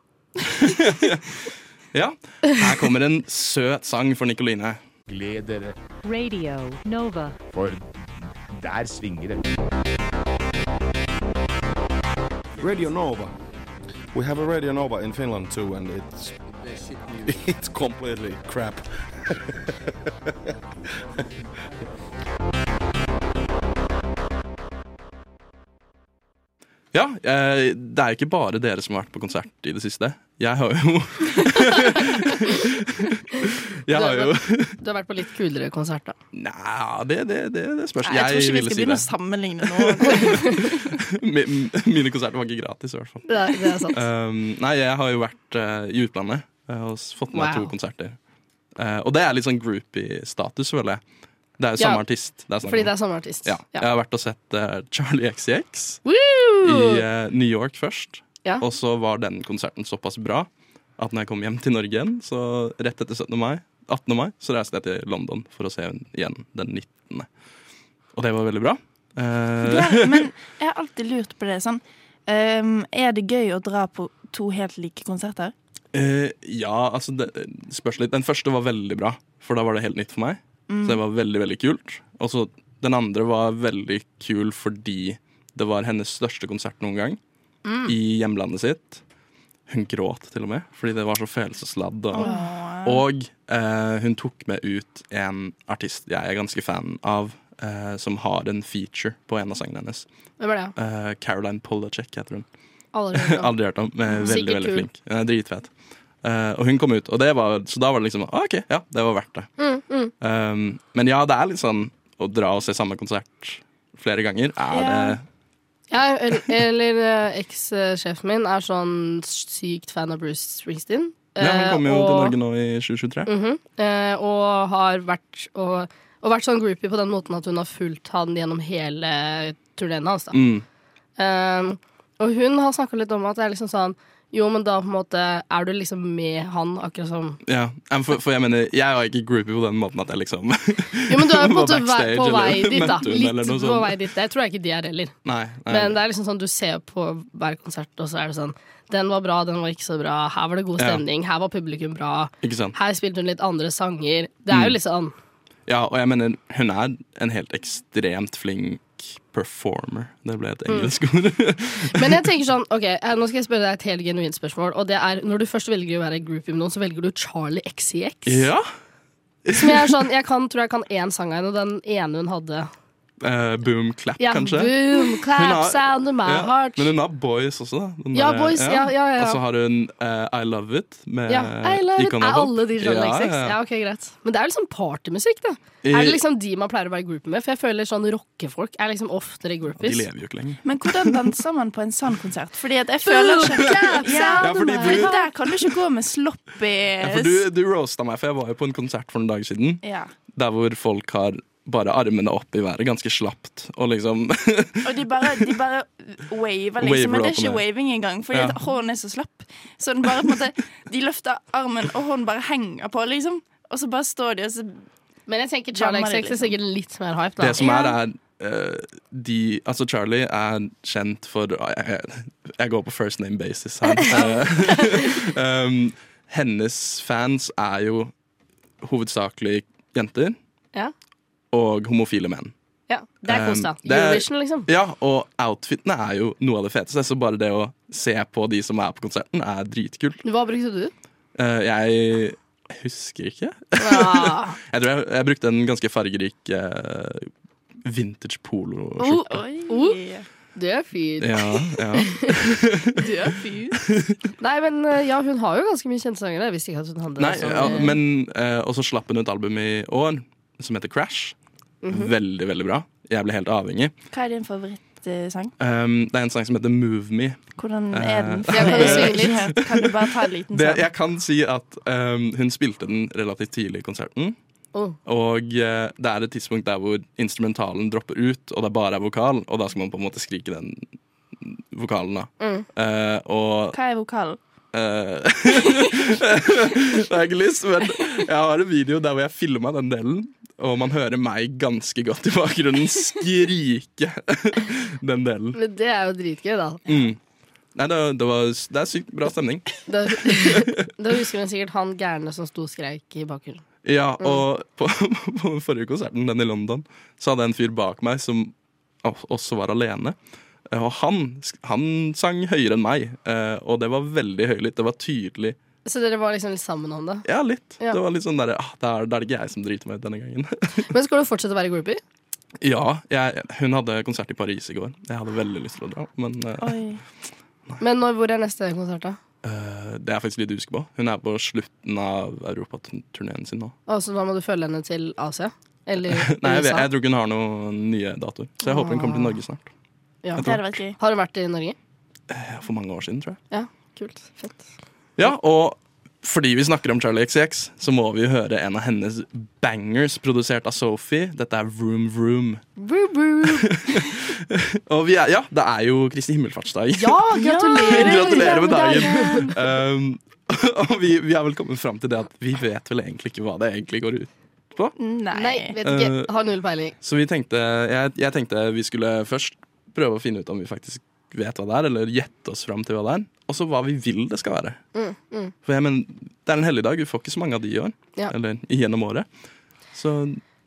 Speaker 4: Ja. Her kommer en søt sang for Nikoline.
Speaker 10: Gled dere,
Speaker 11: Radio Nova.
Speaker 10: for der svinger det. Radio Nova. We have a Radio Nova in Finland too, and it's it's completely crap.
Speaker 4: Ja, eh, Det er ikke bare dere som har vært på konsert i det siste. Jeg har jo Jeg har jo
Speaker 5: Du har vært på litt kulere konsert, da.
Speaker 4: Nei, det, det, det, det spørs.
Speaker 6: Nei, Jeg tror
Speaker 4: Jeg
Speaker 6: ikke vi
Speaker 4: ville
Speaker 6: skal
Speaker 4: si
Speaker 6: begynne
Speaker 4: det.
Speaker 6: å sammenligne nå.
Speaker 4: Mi- Mine konserter var ikke gratis, i hvert fall.
Speaker 5: Det er, det er sant.
Speaker 4: Um, nei, jeg har jo vært eh, i utlandet eh, og s- fått med meg
Speaker 5: Wow.
Speaker 4: to konserter. Eh, og det er litt sånn groupie-status, føler jeg. Det er jo samme
Speaker 5: Ja,
Speaker 4: artist. Det er snakk
Speaker 5: Fordi
Speaker 4: om.
Speaker 5: det er samme artist.
Speaker 4: ja. Jeg har vært og sett eh, Charlie XCX i
Speaker 5: Woo!
Speaker 4: eh, New York først.
Speaker 5: Ja.
Speaker 4: Og så var den konserten såpass bra at når jeg kom hjem til Norge igjen, så rett etter 17. mai, 18. mai, så reiste jeg til London for å se henne igjen den 19. Og det var veldig bra. Eh,
Speaker 6: Ja, men jeg har alltid lurt på det. Sånn, ehm, er det gøy å dra på to helt like konserter?
Speaker 4: Eh, ja, altså det spørs litt. Den første var veldig bra, for da var det helt nytt for meg. Så det var veldig, veldig kult. Og så den andre var veldig kul fordi Det var hennes største konsert noen gang.
Speaker 6: Mm.
Speaker 4: I hjemlandet sitt. Hun gråt til og med, fordi det var så følelsesladd. Og,
Speaker 6: Åh.
Speaker 4: og eh, hun tok med ut en artist jeg er ganske fan av, eh, som har en feature på en av sangene hennes.
Speaker 5: Hvem er det?
Speaker 4: Eh, Caroline Polacek heter hun.
Speaker 5: Aldri hørt om.
Speaker 4: Aldri hørt om. men
Speaker 5: Sikkert
Speaker 4: Veldig, veldig
Speaker 5: kul.
Speaker 4: flink. Hun er dritfet. Eh, og hun kom ut, og det var, så da var det liksom ah, OK, ja, det var verdt det.
Speaker 5: Mm, mm.
Speaker 4: Um, men ja, det er litt sånn å dra og se samme konsert flere ganger. Er
Speaker 5: Ja.
Speaker 4: det
Speaker 5: Ja, el- eller eh, ekssjefen min er sånn sykt fan av Bruce Springsteen.
Speaker 4: Ja, hun
Speaker 5: Eh,
Speaker 4: kommer jo til
Speaker 5: og-
Speaker 4: Norge nå i 2023.
Speaker 5: Mhm. Eh, og har vært og, og vært sånn groupie på den måten at hun har fulgt han gjennom hele turneen hans. da.
Speaker 4: Mm.
Speaker 5: Eh, og hun har snakka litt om at det er liksom sånn Jo, men da på en måte er du liksom med han, akkurat som
Speaker 4: Ja, men for, for jeg mener, jeg var ikke groupie på den måten at jeg liksom
Speaker 5: Jo, men du er jo på en
Speaker 4: Var
Speaker 5: måte vei,
Speaker 4: backstage
Speaker 5: på vei
Speaker 4: eller
Speaker 5: dit, da.
Speaker 4: møtte hun eller
Speaker 5: Litt
Speaker 4: noe
Speaker 5: på
Speaker 4: sånt.
Speaker 5: vei dit. Det tror jeg ikke de er heller.
Speaker 4: Nei. nei.
Speaker 5: Men det er liksom sånn, du ser på hver konsert, og så er det sånn Den var bra, den var ikke så bra. Her var det god
Speaker 4: Ja.
Speaker 5: stemning. Her var publikum bra.
Speaker 4: Ikke sant?
Speaker 5: Her spilte hun litt andre sanger. Det er jo
Speaker 4: Mm.
Speaker 5: litt sånn
Speaker 4: Ja, og jeg mener, hun er en helt ekstremt flink performer. Det ble et engelsk ord.
Speaker 5: Men jeg tenker sånn, ok, eh, nå skal jeg spørre deg et helt genuint spørsmål. Og det er, Når du først velger å være groupie med noen, så velger du Charlie XCX.
Speaker 4: ja.
Speaker 5: Som jeg er sånn, jeg kan, tror jeg kan én sang av henne, og den ene hun hadde.
Speaker 4: Eh, boom clap,
Speaker 5: Ja,
Speaker 4: kanskje.
Speaker 5: boom, clap,
Speaker 4: Hun har-
Speaker 5: sound of my
Speaker 4: ja,
Speaker 5: heart.
Speaker 4: Men hun har Boys også, da. Den
Speaker 5: Ja,
Speaker 4: derre-
Speaker 5: Boys, ja, ja, ja, ja.
Speaker 4: Og så har hun eh, I Love It med
Speaker 5: Ja, I love it.
Speaker 4: Icon
Speaker 5: Er
Speaker 4: Pop.
Speaker 5: alle de Charlie
Speaker 4: Ja,
Speaker 5: XCX?
Speaker 4: ja.
Speaker 5: Ja, ok, greit. Men det er jo liksom partymusikk, da. Er det liksom de man pleier å være groupie med? For jeg føler sånn rockefolk er liksom oftere
Speaker 4: De
Speaker 5: groupies.
Speaker 4: lever jo ikke lenger.
Speaker 6: Men hvordan danser man på en sånn konsert? Fordi at jeg føler ikke
Speaker 4: Ja, fordi du-
Speaker 6: Fordi der kan du ikke gå med sloppy
Speaker 4: Ja, for du, du roasta meg, for jeg var jo på en konsert for noen dager siden.
Speaker 6: Ja.
Speaker 4: Der hvor folk har bare armene opp i været, ganske slapt. Og liksom
Speaker 6: Og de bare, de bare waver, liksom. Men det er ikke
Speaker 4: Waver opp og ned.
Speaker 6: waving engang, fordi
Speaker 4: Ja.
Speaker 6: at hånden er så slapp. Så den bare på en måte De løfter armen, og hånden bare henger på, liksom. Og så bare står de, og så
Speaker 5: Men jeg tenker Charlie XCX er sikkert litt mer hype, da.
Speaker 4: Det som er, sånn- er eh, de, altså Charlie er kjent for jeg, jeg, jeg går på first name basis her. Eh, um, hennes fans er jo hovedsakelig jenter
Speaker 5: Ja.
Speaker 4: og homofile menn.
Speaker 5: ja. Det er
Speaker 4: Um,
Speaker 5: kos, da.
Speaker 4: det er-
Speaker 5: Eurovision, liksom.
Speaker 4: Ja, og outfitene er jo noe av det feteste. Så bare det å se på de som er på konserten, er dritkult.
Speaker 5: Hva brukte du?
Speaker 4: Eh, jeg husker ikke. jeg tror jeg, jeg brukte en ganske fargerik eh, vintage
Speaker 5: Oh,
Speaker 4: poloskjorte.
Speaker 5: oh,
Speaker 4: Uh.
Speaker 5: du er fyr.
Speaker 4: Ja, ja.
Speaker 5: Du er fyr. Nei, men eh, ja, hun har jo ganske mye kjente sanger. Jeg visste ikke at hun hadde
Speaker 4: Nei,
Speaker 5: sånn,
Speaker 4: ja,
Speaker 5: eh,
Speaker 4: men eh, Og så slapp hun ut album i år som heter Crash.
Speaker 6: Mhm.
Speaker 4: Veldig, veldig bra. Jeg ble helt avhengig.
Speaker 6: Hva er din favorittsang?
Speaker 4: Um, det er en sang som heter Move Me.
Speaker 6: Hvordan er den?
Speaker 4: Eh,
Speaker 6: For jeg har jo ikke hørt. Kan du bare ta en liten
Speaker 4: det,
Speaker 6: sånn?
Speaker 4: jeg kan si at um, hun spilte den relativt tidlig i konserten.
Speaker 5: Oh.
Speaker 4: Og eh, det er et tidspunkt der hvor instrumentalen dropper ut, og det bare er vokal, og da skal man på en måte skrike den vokalen, da.
Speaker 6: Mm.
Speaker 4: Eh, og
Speaker 6: Hva er vokalen?
Speaker 4: eh, Det er ikke lyst, men jeg har en video der hvor jeg filma den delen, og man hører meg ganske godt i bakgrunnen skrike den delen.
Speaker 5: Men det er jo dritgøy, da.
Speaker 4: Mm. Nei, det, det, var, det er sykt bra stemning.
Speaker 5: Da, da husker hun sikkert han gærne som sto og skreik i bakgrunnen.
Speaker 4: Ja, og på, på den forrige konserten, den i London, så hadde jeg en fyr bak meg som al- også var alene. Eh, Og han, sk- han sang høyere enn meg, eh, og det var veldig høylytt. Det var tydelig.
Speaker 5: Så dere var liksom litt sammen om det.
Speaker 4: Ja, litt.
Speaker 5: Ja.
Speaker 4: Det var litt sånn derre ah, Da er da er det ikke jeg som driter meg ut denne gangen.
Speaker 5: Men skal du fortsette å være groupie?
Speaker 4: ja, jeg, hun hadde konsert i Paris i går. Jeg hadde veldig lyst til å dra, men eh,
Speaker 5: Men når, hvor er neste konsert, da?
Speaker 4: eh, det er jeg faktisk litt usikker på. Hun er på slutten av europaturneen sin nå.
Speaker 5: Altså, da må du følge henne til Asia? Eller
Speaker 4: Nei, jeg, vet,
Speaker 5: USA?
Speaker 4: jeg tror ikke hun har noen nye datoer, så jeg håper hun kommer til Norge snart.
Speaker 5: Ja.
Speaker 4: jeg tror- Det hadde
Speaker 5: Har hun vært i Norge?
Speaker 4: Eh, For mange år siden, tror jeg.
Speaker 5: Ja, kult. Fett.
Speaker 4: Ja, og fordi vi snakker om Charlie XX, så må vi jo høre en av hennes bangers produsert av Sophie. Dette er Vroom Vroom. Og vi er, ja, det er jo Kristi himmelfartsdag.
Speaker 5: Ja, gratulerer!
Speaker 4: gratulerer med
Speaker 5: Gratulerer
Speaker 4: dagen! Um, og vi, vi er vel kommet fram til det at vi vet vel egentlig ikke hva det egentlig går ut.
Speaker 5: Nei. vet ikke.
Speaker 4: Eh,
Speaker 5: Har null peiling.
Speaker 4: Så vi tenkte, jeg, jeg tenkte vi skulle først prøve å finne ut om vi faktisk vet hva det er, eller gjette oss fram til hva det er. Og så hva vi vil det skal være.
Speaker 5: Mm, mm.
Speaker 4: For jeg mener, Det er en helligdag, vi får ikke så mange av de i år.
Speaker 5: Ja.
Speaker 4: Eller gjennom året. Så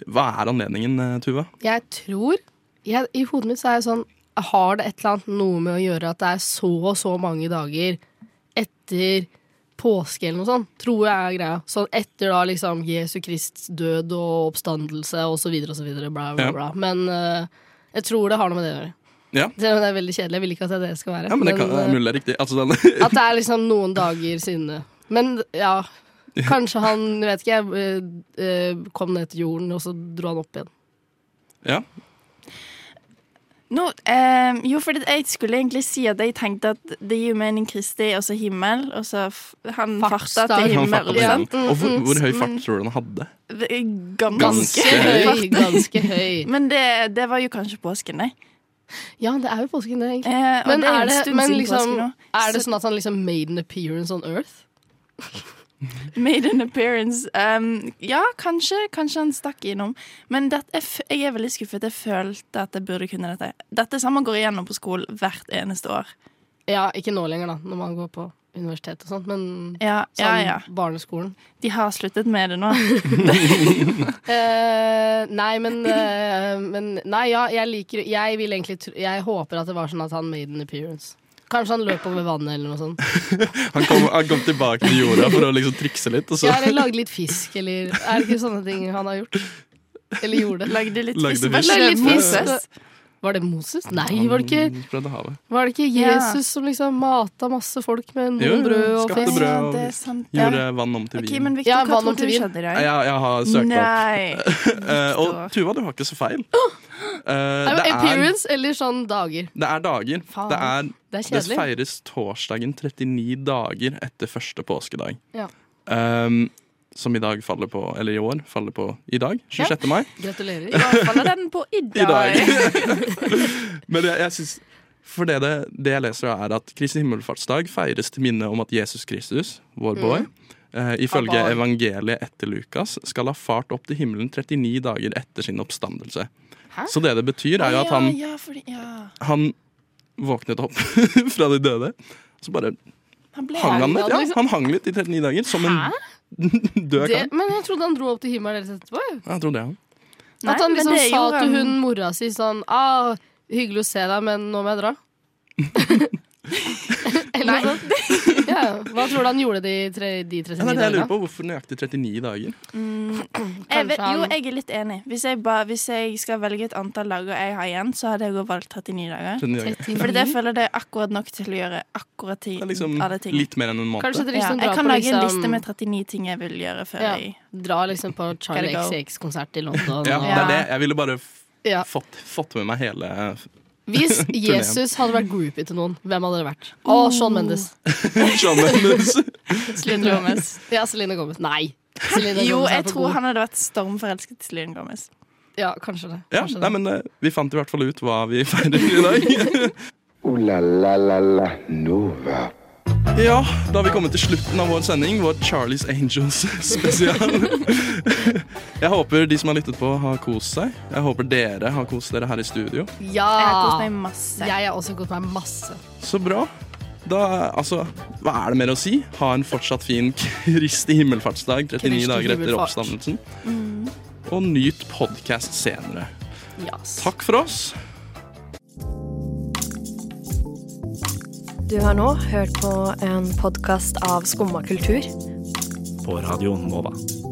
Speaker 4: hva er anledningen, eh, Tuva?
Speaker 5: Jeg tror jeg, I hodet mitt så er jeg sånn har det et eller annet noe med å gjøre at det er så og så mange dager etter påske eller noe sånt, tror jeg er greia. Sånn etter da liksom Jesu Krists død og oppstandelse og så videre og så videre, bla, bla,
Speaker 4: Ja.
Speaker 5: bla. Men eh, jeg tror det har noe med det å gjøre.
Speaker 4: Ja.
Speaker 5: Selv om det er veldig kjedelig, jeg vil ikke at det er det det skal være.
Speaker 4: ja, men det kan, det
Speaker 5: eh,
Speaker 4: er mulig det er riktig. Altså, den,
Speaker 5: at det er liksom noen dager sinne. Men ja, kanskje han, vet ikke jeg, eh, eh, kom ned til jorden, og så dro han opp igjen.
Speaker 4: ja.
Speaker 6: Nå, eh, jo, for jeg skulle egentlig si at jeg tenkte at det gir mening Kristi og så himmel, og så f han farta
Speaker 4: Han
Speaker 6: til himmel.
Speaker 4: farta på
Speaker 6: sant?
Speaker 4: himmelen. Og hvor, hvor høy
Speaker 5: Mm,
Speaker 4: fart
Speaker 6: Men-
Speaker 4: tror du den hadde?
Speaker 6: Ganske,
Speaker 4: Ganske høy.
Speaker 6: høy.
Speaker 5: Ganske høy.
Speaker 6: Men det, det var jo kanskje påsken, det.
Speaker 5: Ja, det er jo påsken, det. egentlig.
Speaker 6: Eh, og
Speaker 5: Men,
Speaker 6: det er jo
Speaker 5: er,
Speaker 6: en
Speaker 5: det,
Speaker 6: stund
Speaker 5: men
Speaker 6: siden
Speaker 5: liksom,
Speaker 6: påsken nå.
Speaker 5: er det
Speaker 6: Så-
Speaker 5: sånn at han liksom made an appearance on earth?
Speaker 6: Made an appearance. Um, ja, kanskje, kanskje han stakk innom. Men det, jeg, f- jeg er veldig skuffet. Jeg følte at jeg burde kunne dette. Dette samme går igjennom på skolen hvert eneste år.
Speaker 5: Ja, ikke nå lenger, da, når man går på universitet og sånt, men
Speaker 6: Ja, ja,
Speaker 5: sånn
Speaker 6: ja.
Speaker 5: barneskolen.
Speaker 6: De har sluttet med det nå.
Speaker 5: Eh, nei, men, eh, men Nei, ja, jeg liker Jeg vil egentlig tro- Jeg håper at det var sånn at han made an appearance. Kanskje han løp over vannet eller noe sånt.
Speaker 4: Han kom, han kom tilbake til jorda for å liksom trikse litt, og så
Speaker 5: Ja, eller lagde litt fisk, eller Er det ikke sånne ting han har gjort? Eller gjorde?
Speaker 6: Lagde litt
Speaker 4: Lagde fisk.
Speaker 5: Lagde litt
Speaker 4: Moses.
Speaker 5: fisk. Var det Moses? Nei, var det ikke
Speaker 4: Han Sprødde havet.
Speaker 5: Var det ikke
Speaker 6: Ja.
Speaker 5: Jesus som liksom mata masse folk med
Speaker 4: Jo,
Speaker 5: noen brød og
Speaker 4: skapte
Speaker 5: fisk?
Speaker 4: brød og
Speaker 6: det er sant, ja.
Speaker 4: gjorde vann om til
Speaker 6: Ok,
Speaker 4: vin.
Speaker 6: men Victor,
Speaker 5: Ja,
Speaker 6: hva
Speaker 5: vann om
Speaker 6: tror du
Speaker 5: til vin.
Speaker 6: skjedde i dag?
Speaker 4: jeg, jeg har søkt opp.
Speaker 6: Nei.
Speaker 4: Eh, og Tuva, du har ikke så feil. Eh,
Speaker 5: Nei, men
Speaker 4: det, er,
Speaker 5: appearance eller sånn dager.
Speaker 4: det er dager.
Speaker 5: Faen,
Speaker 4: Det, er,
Speaker 5: det er
Speaker 4: det
Speaker 5: kjedelig.
Speaker 4: feires torsdagen 39 dager etter første påskedag.
Speaker 5: Ja.
Speaker 4: Ehm, som i dag faller på Eller i år faller på i dag. 26. mai.
Speaker 5: Gratulerer.
Speaker 6: I hvert fall er den på i
Speaker 4: I dag.
Speaker 6: dag.
Speaker 4: Men jeg, jeg synes, For det, det, det jeg leser, er at Kristi himmelfartsdag feires til minne om at Jesus Kristus, vår
Speaker 5: Mhm.
Speaker 4: boy, eh, ifølge
Speaker 5: Abba.
Speaker 4: evangeliet etter Lukas, skal ha fart opp til himmelen 39 dager etter sin oppstandelse.
Speaker 5: Hæ?
Speaker 4: Så det det betyr, er jo at han,
Speaker 6: Ja, ja, fordi, ja.
Speaker 4: han våknet opp fra de døde. Så bare
Speaker 6: Han ble
Speaker 4: hang han litt. Ja,
Speaker 5: liksom.
Speaker 4: han hang litt i 39 dager, som en død
Speaker 5: Det,
Speaker 4: kar.
Speaker 5: men jeg trodde han dro opp til himmelen deres etterpå. jo.
Speaker 4: Ja, Jeg tror det, han.
Speaker 6: Nei,
Speaker 5: At han
Speaker 6: men
Speaker 5: liksom
Speaker 6: det
Speaker 5: sa
Speaker 6: gjorde
Speaker 5: til
Speaker 6: han.
Speaker 5: hun mora si sånn ah, 'Hyggelig å se deg, men nå må jeg dra'. Eller noe sånt. Ja, hva tror du han gjorde de, tre, de
Speaker 4: Ja, det
Speaker 5: 39
Speaker 4: er det jeg lurer
Speaker 5: dagene?
Speaker 4: på. Hvorfor nøyaktig 39 dager?
Speaker 6: Jeg vet,
Speaker 5: han-
Speaker 6: jo, jeg er litt enig. Hvis jeg, ba, hvis jeg skal velge et antall dager jeg har igjen, så hadde jeg også valgt 39 dager.
Speaker 4: 39 dager.
Speaker 6: Fordi det føler jeg det er akkurat nok til å gjøre akkurat ti
Speaker 4: Mhm. Det er liksom
Speaker 6: alle ting.
Speaker 4: litt mer enn en måned.
Speaker 5: Kanskje dere
Speaker 6: Ja,
Speaker 5: liksom
Speaker 6: jeg
Speaker 5: drar
Speaker 6: kan
Speaker 5: på
Speaker 6: lage en
Speaker 5: liksom,
Speaker 6: liste med 39 ting jeg vil gjøre før
Speaker 5: Ja.
Speaker 6: jeg
Speaker 5: Dra liksom på Charlie
Speaker 6: Gotta go.
Speaker 5: XX-konsert i London.
Speaker 4: Ja,
Speaker 5: og-
Speaker 4: det er det. Jeg ville bare f
Speaker 5: Ja.
Speaker 4: fått, fått med meg hele eh,
Speaker 5: Hvis
Speaker 4: Turnéen.
Speaker 5: Jesus hadde vært groupie til noen, hvem hadde det vært? Å, Sean
Speaker 6: Oh.
Speaker 5: Mendes.
Speaker 4: Shawn Mendes.
Speaker 6: Celine Gomez.
Speaker 5: Ja, Celine Gomez. Nei. Selena
Speaker 6: Jo,
Speaker 5: Gomez er
Speaker 6: jeg
Speaker 5: for
Speaker 6: tror
Speaker 5: god.
Speaker 6: han hadde vært stormforelsket i Celine Gomez.
Speaker 5: Ja, kanskje det.
Speaker 4: Ja,
Speaker 5: Kanskje
Speaker 4: nei,
Speaker 5: det.
Speaker 4: men eh, vi fant i hvert fall ut hva vi feirer i dag.
Speaker 3: Ooh la la la la Nova.
Speaker 4: Ja, da har vi kommet til slutten av vår sending, vår Charlies Angels spesial. Jeg håper de som har lyttet på, har kost seg. Jeg håper dere har kost dere her i studio.
Speaker 6: Jeg har kost
Speaker 5: Ja!
Speaker 6: meg masse.
Speaker 5: Ah. Jeg har også kost meg masse.
Speaker 4: Så bra. Da, altså, hva er det mer å si? Ha en fortsatt fin Kristi himmelfartsdag 39
Speaker 5: Kristi
Speaker 4: dager etter
Speaker 5: himmelfart. Mm.
Speaker 4: oppstandelsen. Og nyt podkast senere.
Speaker 5: Yes.
Speaker 4: Takk for oss.
Speaker 12: Du har nå hørt på en podkast av Skumma kultur.
Speaker 9: På Radio Nova.